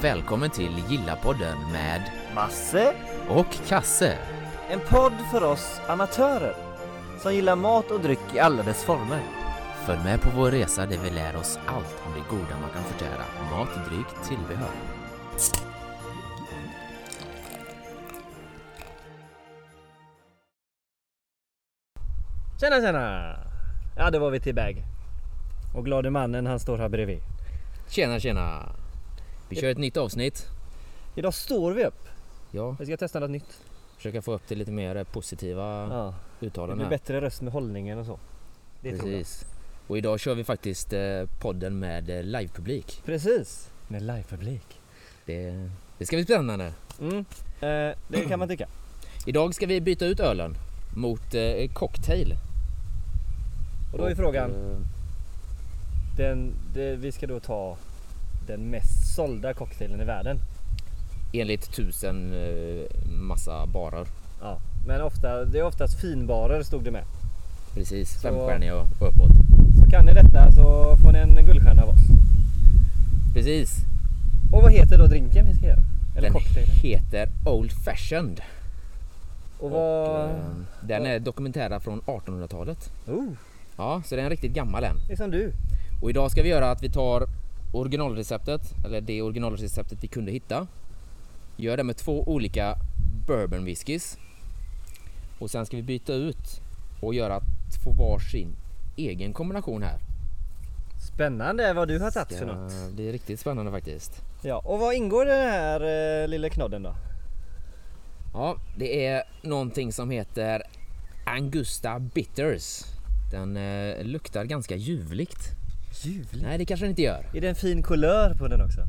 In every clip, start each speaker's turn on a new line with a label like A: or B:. A: välkommen till Gilla-podden med
B: Masse,
A: och Kasse.
B: en podd för oss amatörer som gillar mat och dryck i alla dess former.
A: Följ med på vår resa där vi lär oss allt om det goda man kan förtära, mat, dryck, tillbehör.
B: Tjena tjena! Ja, det var vi till bag. Och glade mannen han står här bredvid.
A: Tjena tjena! Vi kör ett nytt avsnitt.
B: Idag står vi upp.
A: Ja,
B: Vi ska testa något nytt.
A: försöka få upp till lite mer positiva
B: Ja. Det
A: uttalanden.
B: blir
A: här.
B: bättre röst med hållningen och så. Det tror jag.
A: Precis. Och idag kör vi faktiskt eh, podden med eh, livepublik.
B: Precis! Med livepublik.
A: Det, det ska bli spännande.
B: Mm. Eh, det kan man tycka.
A: Idag ska vi byta ut ölen mot eh, cocktail.
B: Och eh, då är frågan,
A: eh,
B: den, det, vi ska då ta den mest sålda cocktailen i världen.
A: Enligt tusen eh, massa barer.
B: Ja. Men ofta, det är oftast finbarer stod det med.
A: Precis,
B: Så-
A: femstjärniga och och uppåt.
B: Så kan ni detta så får ni en guldstjärna av oss.
A: Precis.
B: Och vad heter då drinken vi ska göra? Eller
A: Den
B: cocktailen?
A: heter Old Fashioned.
B: Och vad...
A: Och, eh, den är dokumentärad från 1800-talet.
B: Oh,
A: Ja, så den är riktigt gammal än.
B: det är som du.
A: Och idag ska vi göra att vi tar originalreceptet, eller det originalreceptet vi kunde hitta. Gör det med två olika bourbon whiskys. Och sen ska vi byta ut och göra två varsin egen kombination här.
B: Spännande vad du har tagit för något.
A: Det blir riktigt spännande faktiskt.
B: Ja, och vad ingår i den här eh, lilla knodden då?
A: Ja, det är någonting som heter Angusta Bitters. Den eh, luktar ganska ljuvligt.
B: Ljuvligt.
A: Nej, det kanske den inte gör.
B: Är det en fin kulör på den också?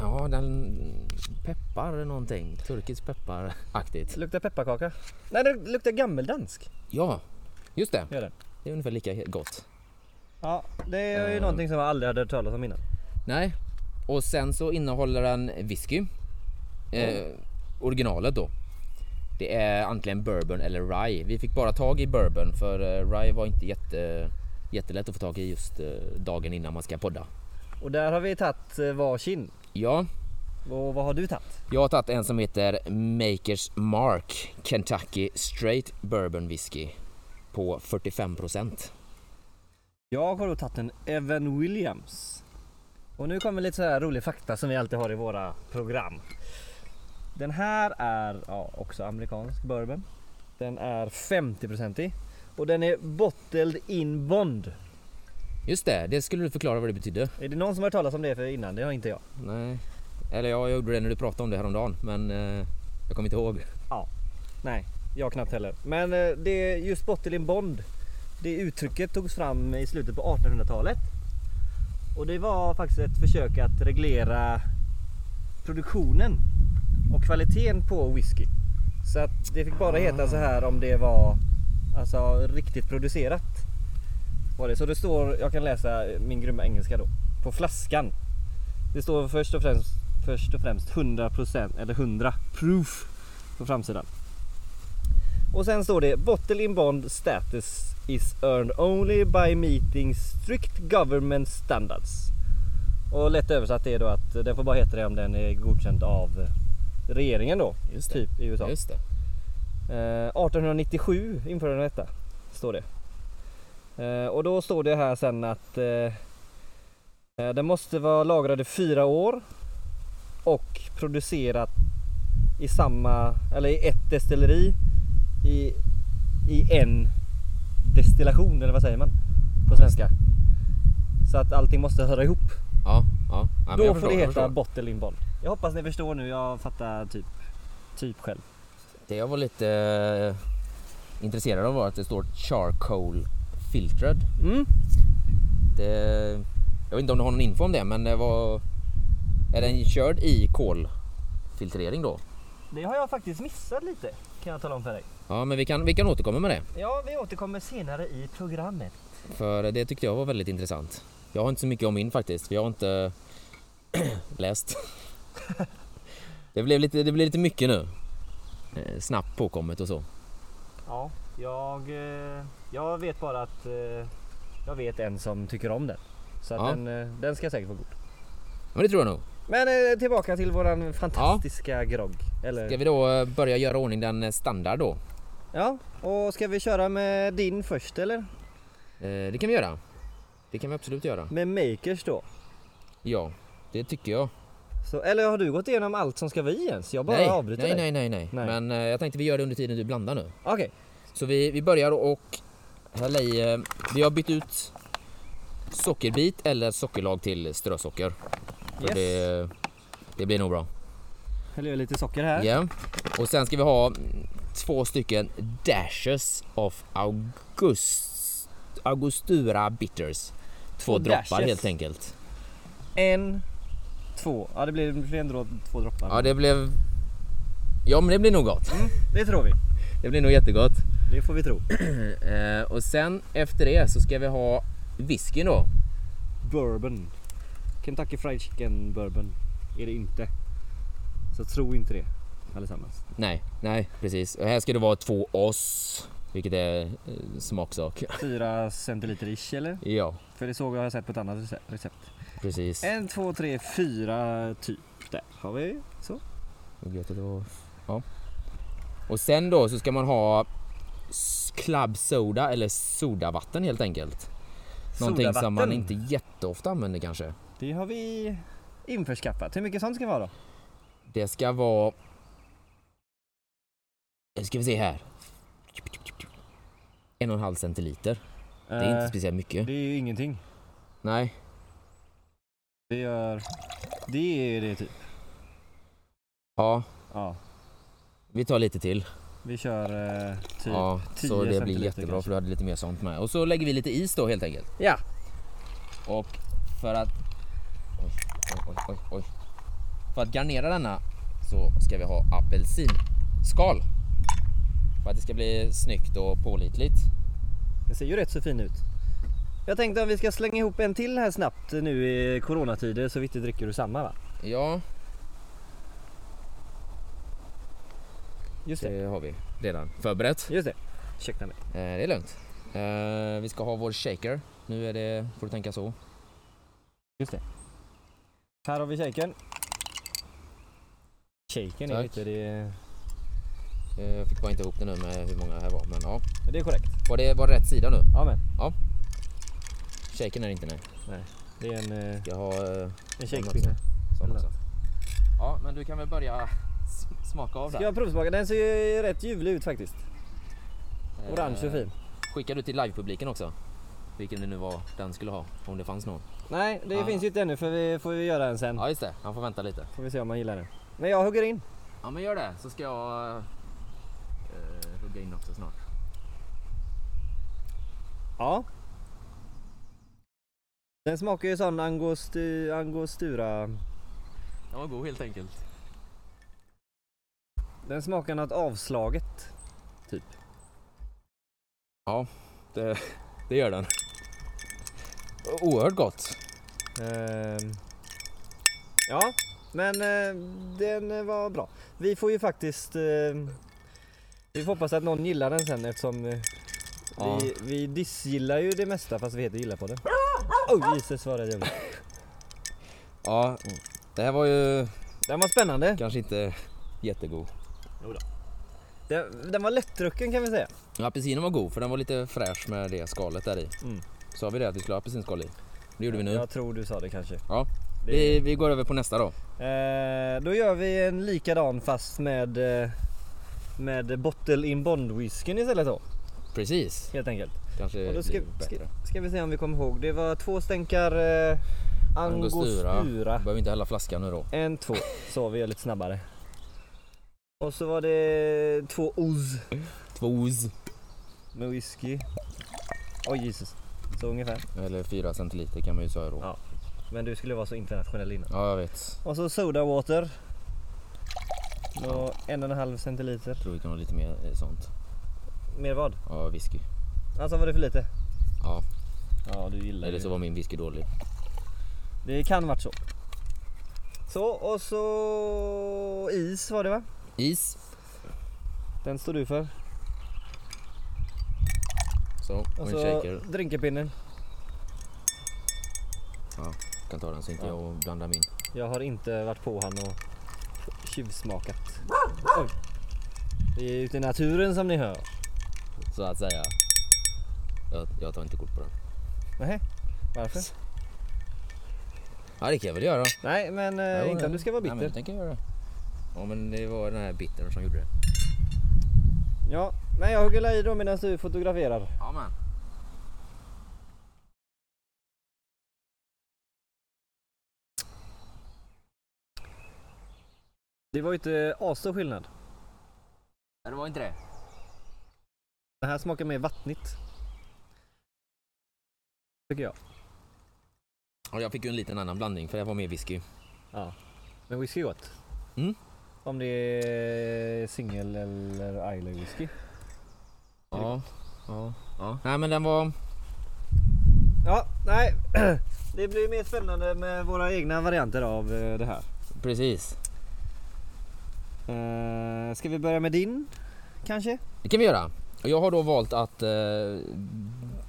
A: ja, den peppar någonting. Turkisk pepparaktigt.
B: Luktar pepparkaka? Nej, det luktar gammeldansk.
A: Ja, just det.
B: Gör den.
A: Det är ungefär lika gott.
B: Ja, det är ju
A: Eh.
B: någonting som jag aldrig hade hört talas om innan.
A: Nej, och sen så innehåller den whisky. Eh, originalet då. Det är antingen bourbon eller rye. Vi fick bara tag i bourbon för eh, rye var inte jätte, jättelätt att få tag i just eh, dagen innan man ska podda.
B: Och där har vi tagit eh, varsin.
A: Ja,
B: Och vad har du tagit?
A: jag har tagit en som heter Makers Mark Kentucky Straight Bourbon Whisky på 45 procent.
B: Jag har då tagit en Evan Williams. Och nu kommer lite så här rolig fakta som vi alltid har i våra program. Den här är ja, också amerikansk bourbon. Den är 50-procentig. Och den är bottled in bond.
A: Just det, det skulle du förklara vad det betydde.
B: Är det någon som har hört talas om det för innan? Det har inte jag.
A: Nej, eller ja, jag gjorde det när du pratade om det häromdagen, men eh, jag kommer inte ihåg.
B: Nej, jag knappt heller. Men eh, det är just bottled in bond. Det uttrycket togs fram i slutet på 1800-talet. Och det var faktiskt ett försök att reglera produktionen och kvaliteten på whisky. Så att det fick bara heta så här om det var alltså, riktigt producerat. Var det. Så det står, jag kan läsa min grymma engelska då, på flaskan. Det står först och främst, först och främst 100% eller 100 proof på framsidan. Och sen står det Bottle in bond status is earned only by meeting strict government standards. Och lätt översatt är då att den får bara heta det om den är godkänd av regeringen då,
A: Just
B: typ i USA.
A: Just det.
B: Eh, 1897 införde den detta, står det. Eh, och då står det här sen att eh, eh, den måste vara lagrad i fyra år och producerat i samma, eller i ett destilleri i, i en destillation, eller vad säger man på svenska? Så att allting måste höra ihop.
A: Ja, ja. ja men
B: Då
A: jag
B: får
A: förstår,
B: det
A: jag
B: heta
A: förstår.
B: bottle in bond. Jag hoppas ni förstår nu, jag fattar typ, typ själv.
A: Det jag var lite eh, intresserad av var att det står charcoal filtered.
B: Mm.
A: Det, jag vet inte om du har någon info om det, men det var... Är den körd i kolfiltrering då?
B: Det har jag faktiskt missat lite kan jag tala om för dig.
A: Ja, men vi kan, vi kan återkomma med det.
B: Ja, vi återkommer senare i programmet.
A: För det tyckte jag var väldigt intressant. Jag har inte så mycket om min faktiskt, för jag har inte läst. det, blev lite, det blev lite mycket nu. Eh, Snabbt påkommet och så.
B: Ja, jag, eh, jag vet bara att eh, jag vet en som tycker om den. Så att
A: Ja.
B: den, eh, den ska säkert vara god.
A: Men det tror jag nog.
B: Men eh, tillbaka till våran fantastiska grogg. Eller?
A: Ska vi då eh, börja göra ordning den eh, standard då?
B: Ja, och ska vi köra med din först eller?
A: Eh, Det kan vi göra. Det kan vi absolut göra.
B: Med makers då?
A: Ja, det tycker jag.
B: Så, eller har du gått igenom allt som ska vara i ens? Jag bara
A: nej,
B: avbryter
A: nej,
B: dig.
A: nej, nej, nej.
B: Nej.
A: Men eh, jag tänkte vi gör det under tiden du blandar nu.
B: Okej,
A: Så vi, vi börjar och hälla i. eh, Vi har bytt ut sockerbit eller sockerlag till strösocker. För
B: Yes.
A: Det, det blir nog bra.
B: häller jag lite socker här.
A: Ja. Och sen ska vi ha mm, två stycken dashes of august, augustura bitters. Två
B: Och
A: droppar
B: dashes.
A: helt enkelt.
B: En, två. Ja det blir, det blir ändå två droppar.
A: Ja, det blev... Ja, men det blir nog gott.
B: det tror vi.
A: Det blir nog jättegott.
B: Det får vi tro.
A: Eh, och sen efter det så ska vi ha whiskyn då.
B: Bourbon. Kentucky Fried Chicken Bourbon är det inte. Så tro inte det allesammans.
A: Nej, nej precis. Och här ska det vara två oss, vilket är eh, smaksak.
B: Fyra centiliter ish eller?
A: Ja,
B: För det såg jag har jag sett på ett annat rece- recept.
A: precis.
B: En, två, tre, fyra typ. Där har vi så.
A: Och gött att det var- Ja. Och sen då så ska man ha s- club soda eller sodavatten helt enkelt. Någonting som man
B: Sodavatten.
A: inte jätteofta använder kanske.
B: Det har vi införskaffat. Hur mycket sånt ska vi ha då?
A: Det ska vara... Nu ska vi se här. En och en halv centiliter. Det är inte
B: Eh,
A: speciellt mycket.
B: det är ju ingenting.
A: Nej,
B: Det gör... Det är det typ.
A: ja.
B: Ja,
A: Vi tar lite till.
B: vi kör eh, typ
A: ja,
B: 10
A: så det blir
B: Typ centiliter
A: jättebra
B: kanske.
A: för du hade lite mer sånt med. Och så lägger vi lite is då helt enkelt.
B: Ja.
A: Och för att... Oj, oj, oj, oj. För att garnera denna så ska vi ha apelsinskal. För att det ska bli snyggt och pålitligt.
B: Den ser ju rätt så fin ut. Jag tänkte om vi ska slänga ihop en till här snabbt nu i coronatider så vi inte dricker ur samma va?
A: Ja,
B: Just det.
A: det har vi redan förberett. Eh,
B: Eh, Just det. Ursäkta mig.
A: det är lugnt. Eh, vi ska ha vår shaker. Nu är det, får du tänka så.
B: Här har vi shaken. Shaken är
A: Tack.
B: lite det...
A: Eh, jag fick bara inte ihop det nu med hur många det här var. Men ja,
B: Det är korrekt.
A: var det, var det rätt sida nu?
B: Ja men.
A: Shakern är det inte nej.
B: Det är en, eh,
A: Jag har... eh,
B: en
A: Sån
B: shakepinne.
A: Sån
B: också.
A: Ja, men du kan väl börja s- smaka av
B: Ska
A: den.
B: jag provsmaka? Den ser ju rätt ljuvlig ut faktiskt.
A: Eh,
B: Orange och fin.
A: Skickar du till livepubliken också? Vilken det nu var den skulle ha, om det fanns någon.
B: Nej, det
A: Ah.
B: finns ju inte ännu för vi får ju göra en sen.
A: Ja, just det. Han får vänta lite.
B: Får vi se om man gillar den. Men jag hugger in.
A: Ja, men gör det så ska jag eh, hugga in också snart.
B: Ja. Den smakar ju sån angosti, angostura...
A: Den var god helt enkelt.
B: Den smakar något avslaget.
A: Det gör den. Oerhört gott.
B: Ehm, ja, men eh, den var bra. Vi får ju faktiskt... Eh, vi får hoppas att någon gillar den sen eftersom eh,
A: Ja.
B: vi, vi dissgillar ju det mesta fast vi heter Gilla på det. Oh Jesus vad det jävla.
A: Ja, det här var ju
B: Den var spännande.
A: kanske inte jättegod.
B: Den, den var lättdrucken kan vi säga.
A: Men Apelsinen var god för den var lite fräsch med det skalet där i.
B: Mm.
A: Sa vi det att vi skulle ha apelsinskal i? Det gjorde vi nu.
B: Jag tror du sa det kanske.
A: Ja.
B: Det-
A: Vi, vi går över på nästa då.
B: Eh, då gör vi en likadan fast med, eh, med bottle in bond whiskyn istället då.
A: Precis.
B: Helt enkelt.
A: Kanske
B: Och då ska,
A: blir
B: ska,
A: bättre.
B: ska vi se om vi kommer ihåg. Det var två stänkar eh,
A: Angostura.
B: angostura.
A: Behöver inte hälla flaskan nu då.
B: En, två. Så vi gör lite snabbare. Och så var det två oz
A: Två oz.
B: med whisky. Oj Jesus. Så ungefär.
A: Eller fyra centiliter kan man ju säga då.
B: Ja.
A: Ja,
B: Men du skulle vara så internationell innan.
A: jag vet.
B: Och så soda water. Och en och en halv centiliter.
A: tror vi kan ha lite mer eh, sånt.
B: Mer vad?
A: Ja, whisky.
B: Alltså var det för lite?
A: Ja,
B: Ja du gillar
A: eller
B: ju.
A: så var min whisky dålig.
B: Det kan varit så. Så och så is var det va?
A: Is.
B: Den står du för.
A: Så, och
B: Och
A: en
B: så Alltså,
A: shaker.
B: drinkerpinnen.
A: Ja. kan ta den så inte
B: Ja.
A: jag blandar min.
B: Jag har inte varit på han och tjuvsmakat. Oj. Vi är ute i naturen som ni hör.
A: Så att säga. Jag, jag tar inte kort på den.
B: Nej, varför?
A: Ja det kan jag väl göra.
B: Nej, men eh,
A: Jo,
B: inte om
A: ja.
B: du ska vara bitter.
A: Nej, men det tänker jag göra. Ja men det var den här bittern som gjorde det.
B: Ja, men jag hugger i då medan du fotograferar.
A: Ja men.
B: Det var ju inte asstor skillnad.
A: Det var inte det.
B: Det här smakar mer vattnigt. Tycker jag.
A: Ja, jag fick ju en liten annan blandning för det var mer whisky.
B: Ja. Men whisky är gott.
A: Mm.
B: Om det är singel eller isla whisky.
A: Ja. Ja. ja. Nej men den var...
B: Ja, nej. Det blir mer spännande med våra egna varianter av eh, det här.
A: Precis.
B: Eh, Ska vi börja med din? Kanske?
A: Det kan vi göra. Och Jag har då valt att eh,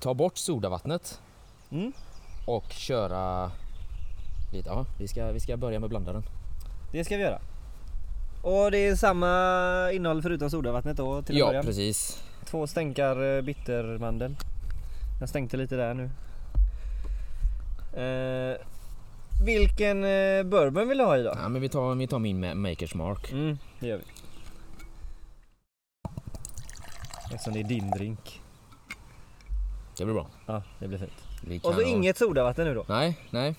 A: ta bort sodavattnet
B: Mm.
A: och köra lite. Ja, vi ska, vi ska börja med blandaren.
B: Det ska vi göra. Och det är samma innehåll förutom sodavattnet då till en
A: Ja,
B: början.
A: precis.
B: Två stänkar eh, bittermandel. Jag stänkte lite där nu. Eh, vilken eh, bourbon vill du ha idag?
A: Ja, men vi, tar, vi tar min Ma- Makers Mark.
B: Mm, det gör vi. Eftersom det är din drink.
A: Det blir bra.
B: Ja, det blir fint.
A: Vi
B: Och så
A: kan ha-
B: inget sodavatten nu då.
A: Nej, nej.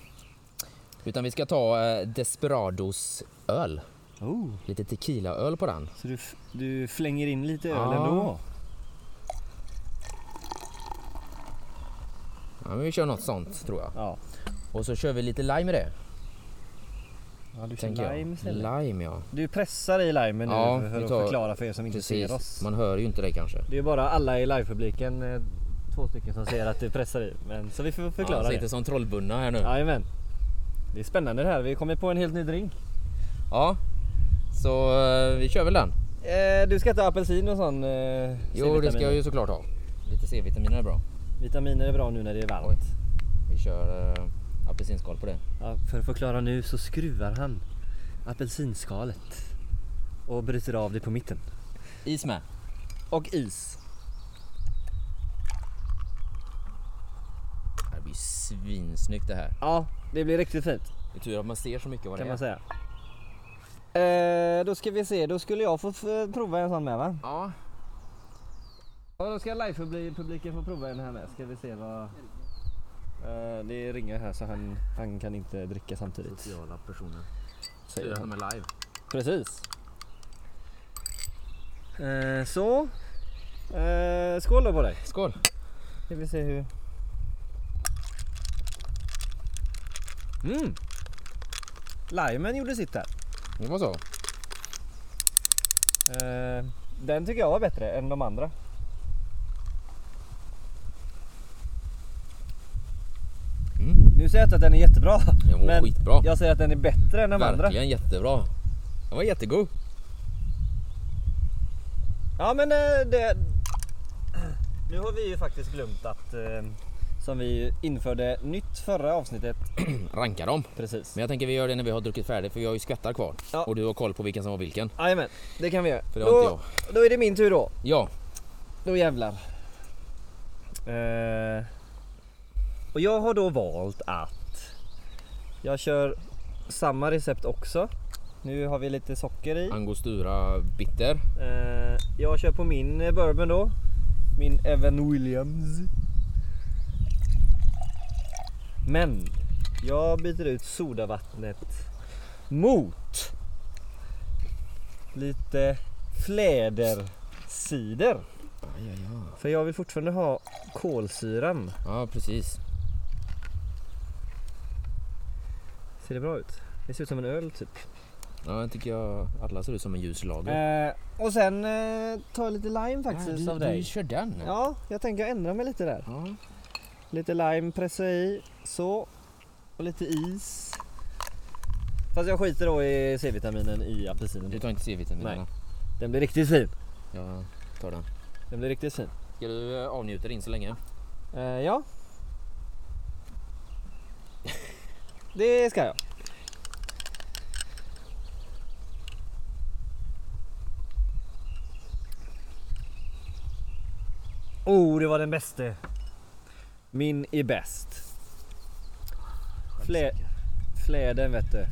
A: Utan vi ska ta eh, Desperados öl.
B: Oh,
A: Lite tequilaöl på den.
B: så du, f- du flänger in lite öl
A: Ja.
B: ändå?
A: Ja, men vi kör något sånt tror jag.
B: Ja.
A: Och så kör vi lite lime i det.
B: ja du kör
A: Tänker jag.
B: lime istället.
A: Lime ja.
B: Du pressar i limen nu
A: Ja,
B: för
A: vi
B: att
A: tar-
B: förklara för er som inte ser
A: Precis.
B: oss.
A: Man hör ju inte det kanske.
B: Det är bara alla i livepubliken, eh, två stycken som säger att du pressar i. Men, så vi får
A: ja,
B: förklara
A: sitter
B: det.
A: som trollbundna här nu. Ja.
B: Jajamän. Det är spännande det här, vi kommer på en helt ny drink.
A: Så eh, vi kör väl den.
B: Eh, du ska ta apelsin och sån eh,
A: Jo, det ska jag
B: C-vitaminer.
A: ju såklart ha. Lite C-vitaminer är bra.
B: Vitaminer är bra nu när det är varmt.
A: Oj. Vi kör eh, apelsinskal på det.
B: Ja, för att förklara nu så skruvar han apelsinskalet och bryter av det på mitten.
A: Is med.
B: Och is.
A: Det här blir svinsnyggt det här.
B: Ja, det blir riktigt fint
A: Det är tur att man ser så mycket vad det
B: kan
A: är.
B: man säga. Eh, då ska vi se, då skulle jag få f- prova en sån med va?
A: Ja,
B: Ja, då ska livepubliken få prova en här med. Ska vi se vad... Eh, det ringer här så han, han kan inte dricka samtidigt.
A: sociala personer.
B: Säger han.
A: är live.
B: Precis. Eh, så. Eh, skål då på dig.
A: Skål!
B: Ska vi se hur... Mm! Limen gjorde sitt där.
A: Det var så.
B: Eh, den tycker jag var bättre än de andra.
A: Mm.
B: Nu säger jag inte att den är jättebra.
A: Det var
B: Men
A: skitbra.
B: Jag säger att den är bättre än de andra.
A: Verkligen jättebra. Den var jättegod.
B: Ja men eh, det... Nu har vi ju faktiskt glömt att eh, som vi införde nytt förra avsnittet.
A: Ranka dem.
B: Precis.
A: Men jag tänker vi gör det när vi har druckit färdigt för vi har ju skvättar kvar.
B: Ja.
A: Och du har koll på vilken som var vilken.
B: Jajamän, det kan vi göra.
A: För det har
B: Då,
A: inte
B: då är det min tur då.
A: jag. Ja,
B: Då jävlar. Eh, och jag har då valt att jag kör samma recept också. Nu har vi lite socker i.
A: angostura bitter.
B: Eh, jag kör på min eh, bourbon då. Min Evan Williams. Men jag byter ut sodavattnet mot lite flädercider.
A: Ja, ja, ja.
B: För jag vill fortfarande ha kolsyran.
A: ja precis.
B: Ser det bra ut? Det ser ut som en öl typ.
A: Ja, jag tycker jag alla ser ut som en ljus lager.
B: och sen eh, tar jag lite lime
A: Ja,
B: faktiskt
A: du,
B: av
A: du
B: dig.
A: kör den.
B: Ja, jag tänker ändra mig lite där.
A: Ja.
B: Lite lime pressa i, så. Och lite is. Fast jag skiter då i C-vitaminen i
A: Du
B: apelsinen.
A: tar inte C-vitaminerna.
B: Nej. Den blir riktigt fin.
A: Jag tar den.
B: Den blir riktigt fin.
A: Ska du eh, avnjuta din så länge?
B: Eh, ja. det ska jag. Oh, det var den bäste. Min är bäst. Flä, fläden vet du.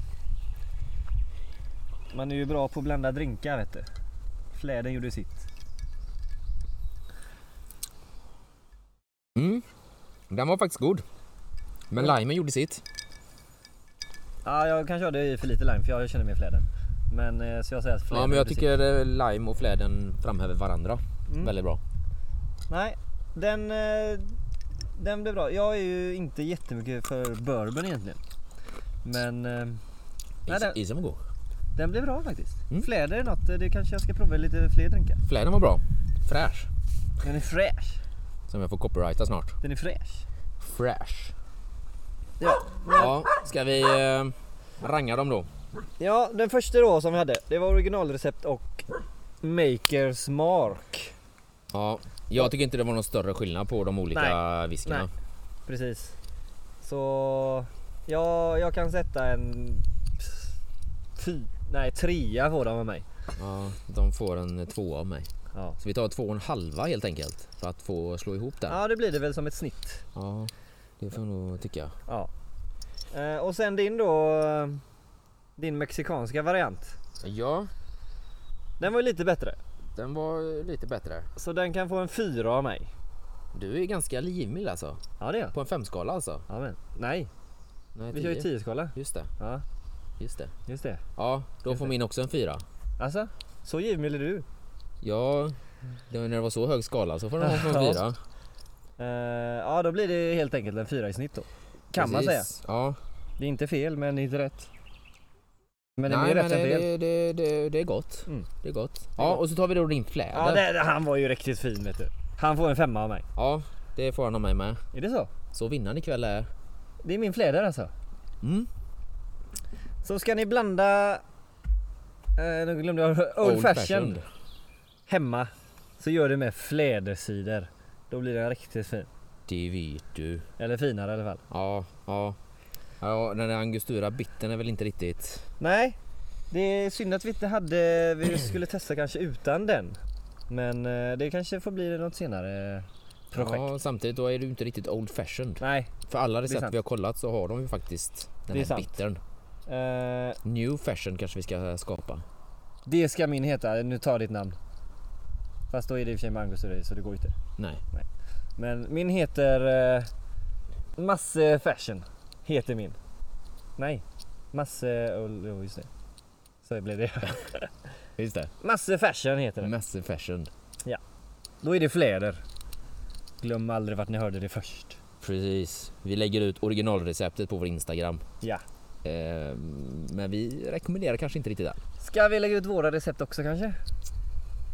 B: Man är ju bra på att blanda drinkar vet du. Fläden gjorde sitt.
A: Mm. Den var faktiskt god. Men limen gjorde sitt.
B: Ja, jag kanske hade i för lite lime för jag känner mig fläden. Men eh, så jag säger att fläden
A: Ja, men jag
B: gjorde sitt.
A: tycker eh, lime och fläden framhäver varandra
B: Mm.
A: väldigt bra.
B: Nej, den, eh, den blev bra. Jag är ju inte jättemycket för bourbon egentligen. Men eh, Nej,
A: Is-
B: den-
A: Isen var god.
B: den blev bra faktiskt.
A: Mm.
B: Fläder är något, eh, det kanske jag ska prova i lite fler drinkar.
A: Fläden var bra. Fräsch.
B: Den är fräsch.
A: Som jag får copyrighta snart.
B: Den är fräsch.
A: Fräsch.
B: Ja,
A: Ja, ska vi eh, ranga dem då?
B: ja den första då som vi hade, det var originalrecept och Makers Mark.
A: Ja, jag tycker inte det var någon större skillnad på de olika whiskyna.
B: Nej. Precis. Så ja, jag kan sätta en fy, nej trea får den av mig.
A: Ja, de får en två av mig.
B: Ja.
A: Så vi tar två och en halva helt enkelt för att få slå ihop den.
B: ja, det blir det väl som ett snitt.
A: Ja, det får jag nog tycka.
B: Ja. Eh, och sen din då, eh, din mexikanska variant.
A: Ja,
B: Den var ju lite bättre.
A: den var lite bättre.
B: Så den kan få en fyra av mig.
A: Du är ganska livmild alltså.
B: Ja det gör
A: På en femskala alltså.
B: ja, men. Nej,
A: Nej,
B: vi kör ju
A: tio.
B: 10-skala.
A: Just det,
B: Ja,
A: just det.
B: just det.
A: Ja, då
B: Just
A: får
B: det.
A: min också en fyra.
B: Alltså, så givmild är du.
A: Ja, det var när det var så hög skala så får den ha en
B: Ja.
A: fyra.
B: Eh, ja, då blir det helt enkelt en fyra i snitt då. Kan man säga.
A: Precis. Ja.
B: Det är inte fel, men inte rätt. Men det är
A: Nej,
B: mer
A: men
B: rätt än
A: det,
B: fel.
A: det, det, det, det är gott.
B: Mm.
A: Det är gott.
B: är
A: Ja,
B: gott.
A: och så tar vi då din fläder.
B: Ja, det, han var ju riktigt fin vet du. Han får en femma av mig.
A: Ja, det får han av mig med.
B: Är det så?
A: Så vinnaren ikväll är...
B: Det är min fläder alltså.
A: Mm.
B: Så ska ni blanda... Eh, nu glömde jag. Old, fashion. hemma så gör det med flädersidor. Då blir den riktigt fin.
A: Det vet du.
B: Eller finare i alla fall.
A: Ja, ja. Ja, den där angostura bitten är väl inte riktigt...
B: Nej, det är synd att vi inte hade, vi skulle testa kanske utan den. Men eh, det kanske får bli något senare projekt.
A: Ja, samtidigt då är du inte riktigt old fashioned.
B: Nej,
A: För alla recept
B: sant.
A: vi har kollat så har de ju faktiskt den
B: Det är
A: här
B: sant.
A: bittern.
B: eh,
A: New fashion kanske vi ska skapa.
B: det ska min heta. Nu tar jag ditt namn. Fast då är det i och för sig mangosur i, så det går inte.
A: Nej.
B: Men min heter eh, Masse Fashion. Heter min. Nej, Masse... Oh, oh, just det. Så blev det.
A: Just det.
B: Masse Fashion heter den.
A: Massive fashion.
B: Då är det fläder. Glöm aldrig vart ni hörde det först.
A: Precis. Vi lägger ut originalreceptet på vår Instagram.
B: Ja.
A: Eh, men vi rekommenderar kanske inte riktigt det.
B: Ska vi lägga ut våra recept också kanske?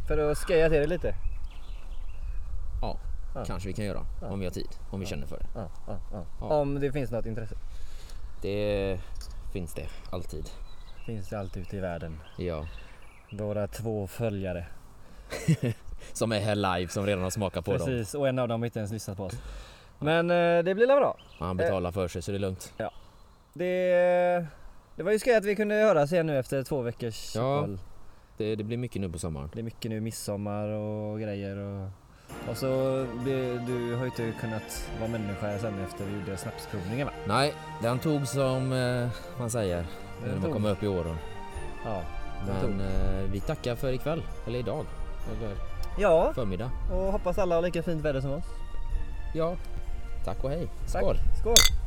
B: För att skoja till det lite.
A: Ja,
B: Ja.
A: kanske vi kan göra.
B: Ja.
A: Om vi har tid. Om vi känner för det.
B: Ja, ja, ja.
A: Ja.
B: Om det finns något intresse.
A: Det finns det. Alltid.
B: Finns det allt ute i världen.
A: Ja.
B: Våra två följare.
A: Som är här live som redan har smakat på dem.
B: Precis, och en av dem har inte ens lyssnat på oss. Men eh, det blir väl bra.
A: Han
B: Eh.
A: betalar för sig så det är lugnt.
B: Det, det var ju skoj att vi kunde höras igen nu efter två veckors
A: Ja.
B: uppehåll.
A: Det, det blir mycket nu på sommaren.
B: Det är mycket nu midsommar och grejer och... Och så, det, du har ju inte kunnat vara människa sen efter vi gjorde snapsprovningen va?
A: Nej, den tog som eh, man säger
B: Den
A: när man
B: tog.
A: kommer upp i åren.
B: Ja, den
A: Men
B: tog.
A: eh, vi tackar för ikväll. Eller idag. Eller
B: Ja,
A: förmiddag.
B: och hoppas alla har lika fint väder som oss.
A: Ja. Tack och hej.
B: Tack.
A: Skål.
B: Skål!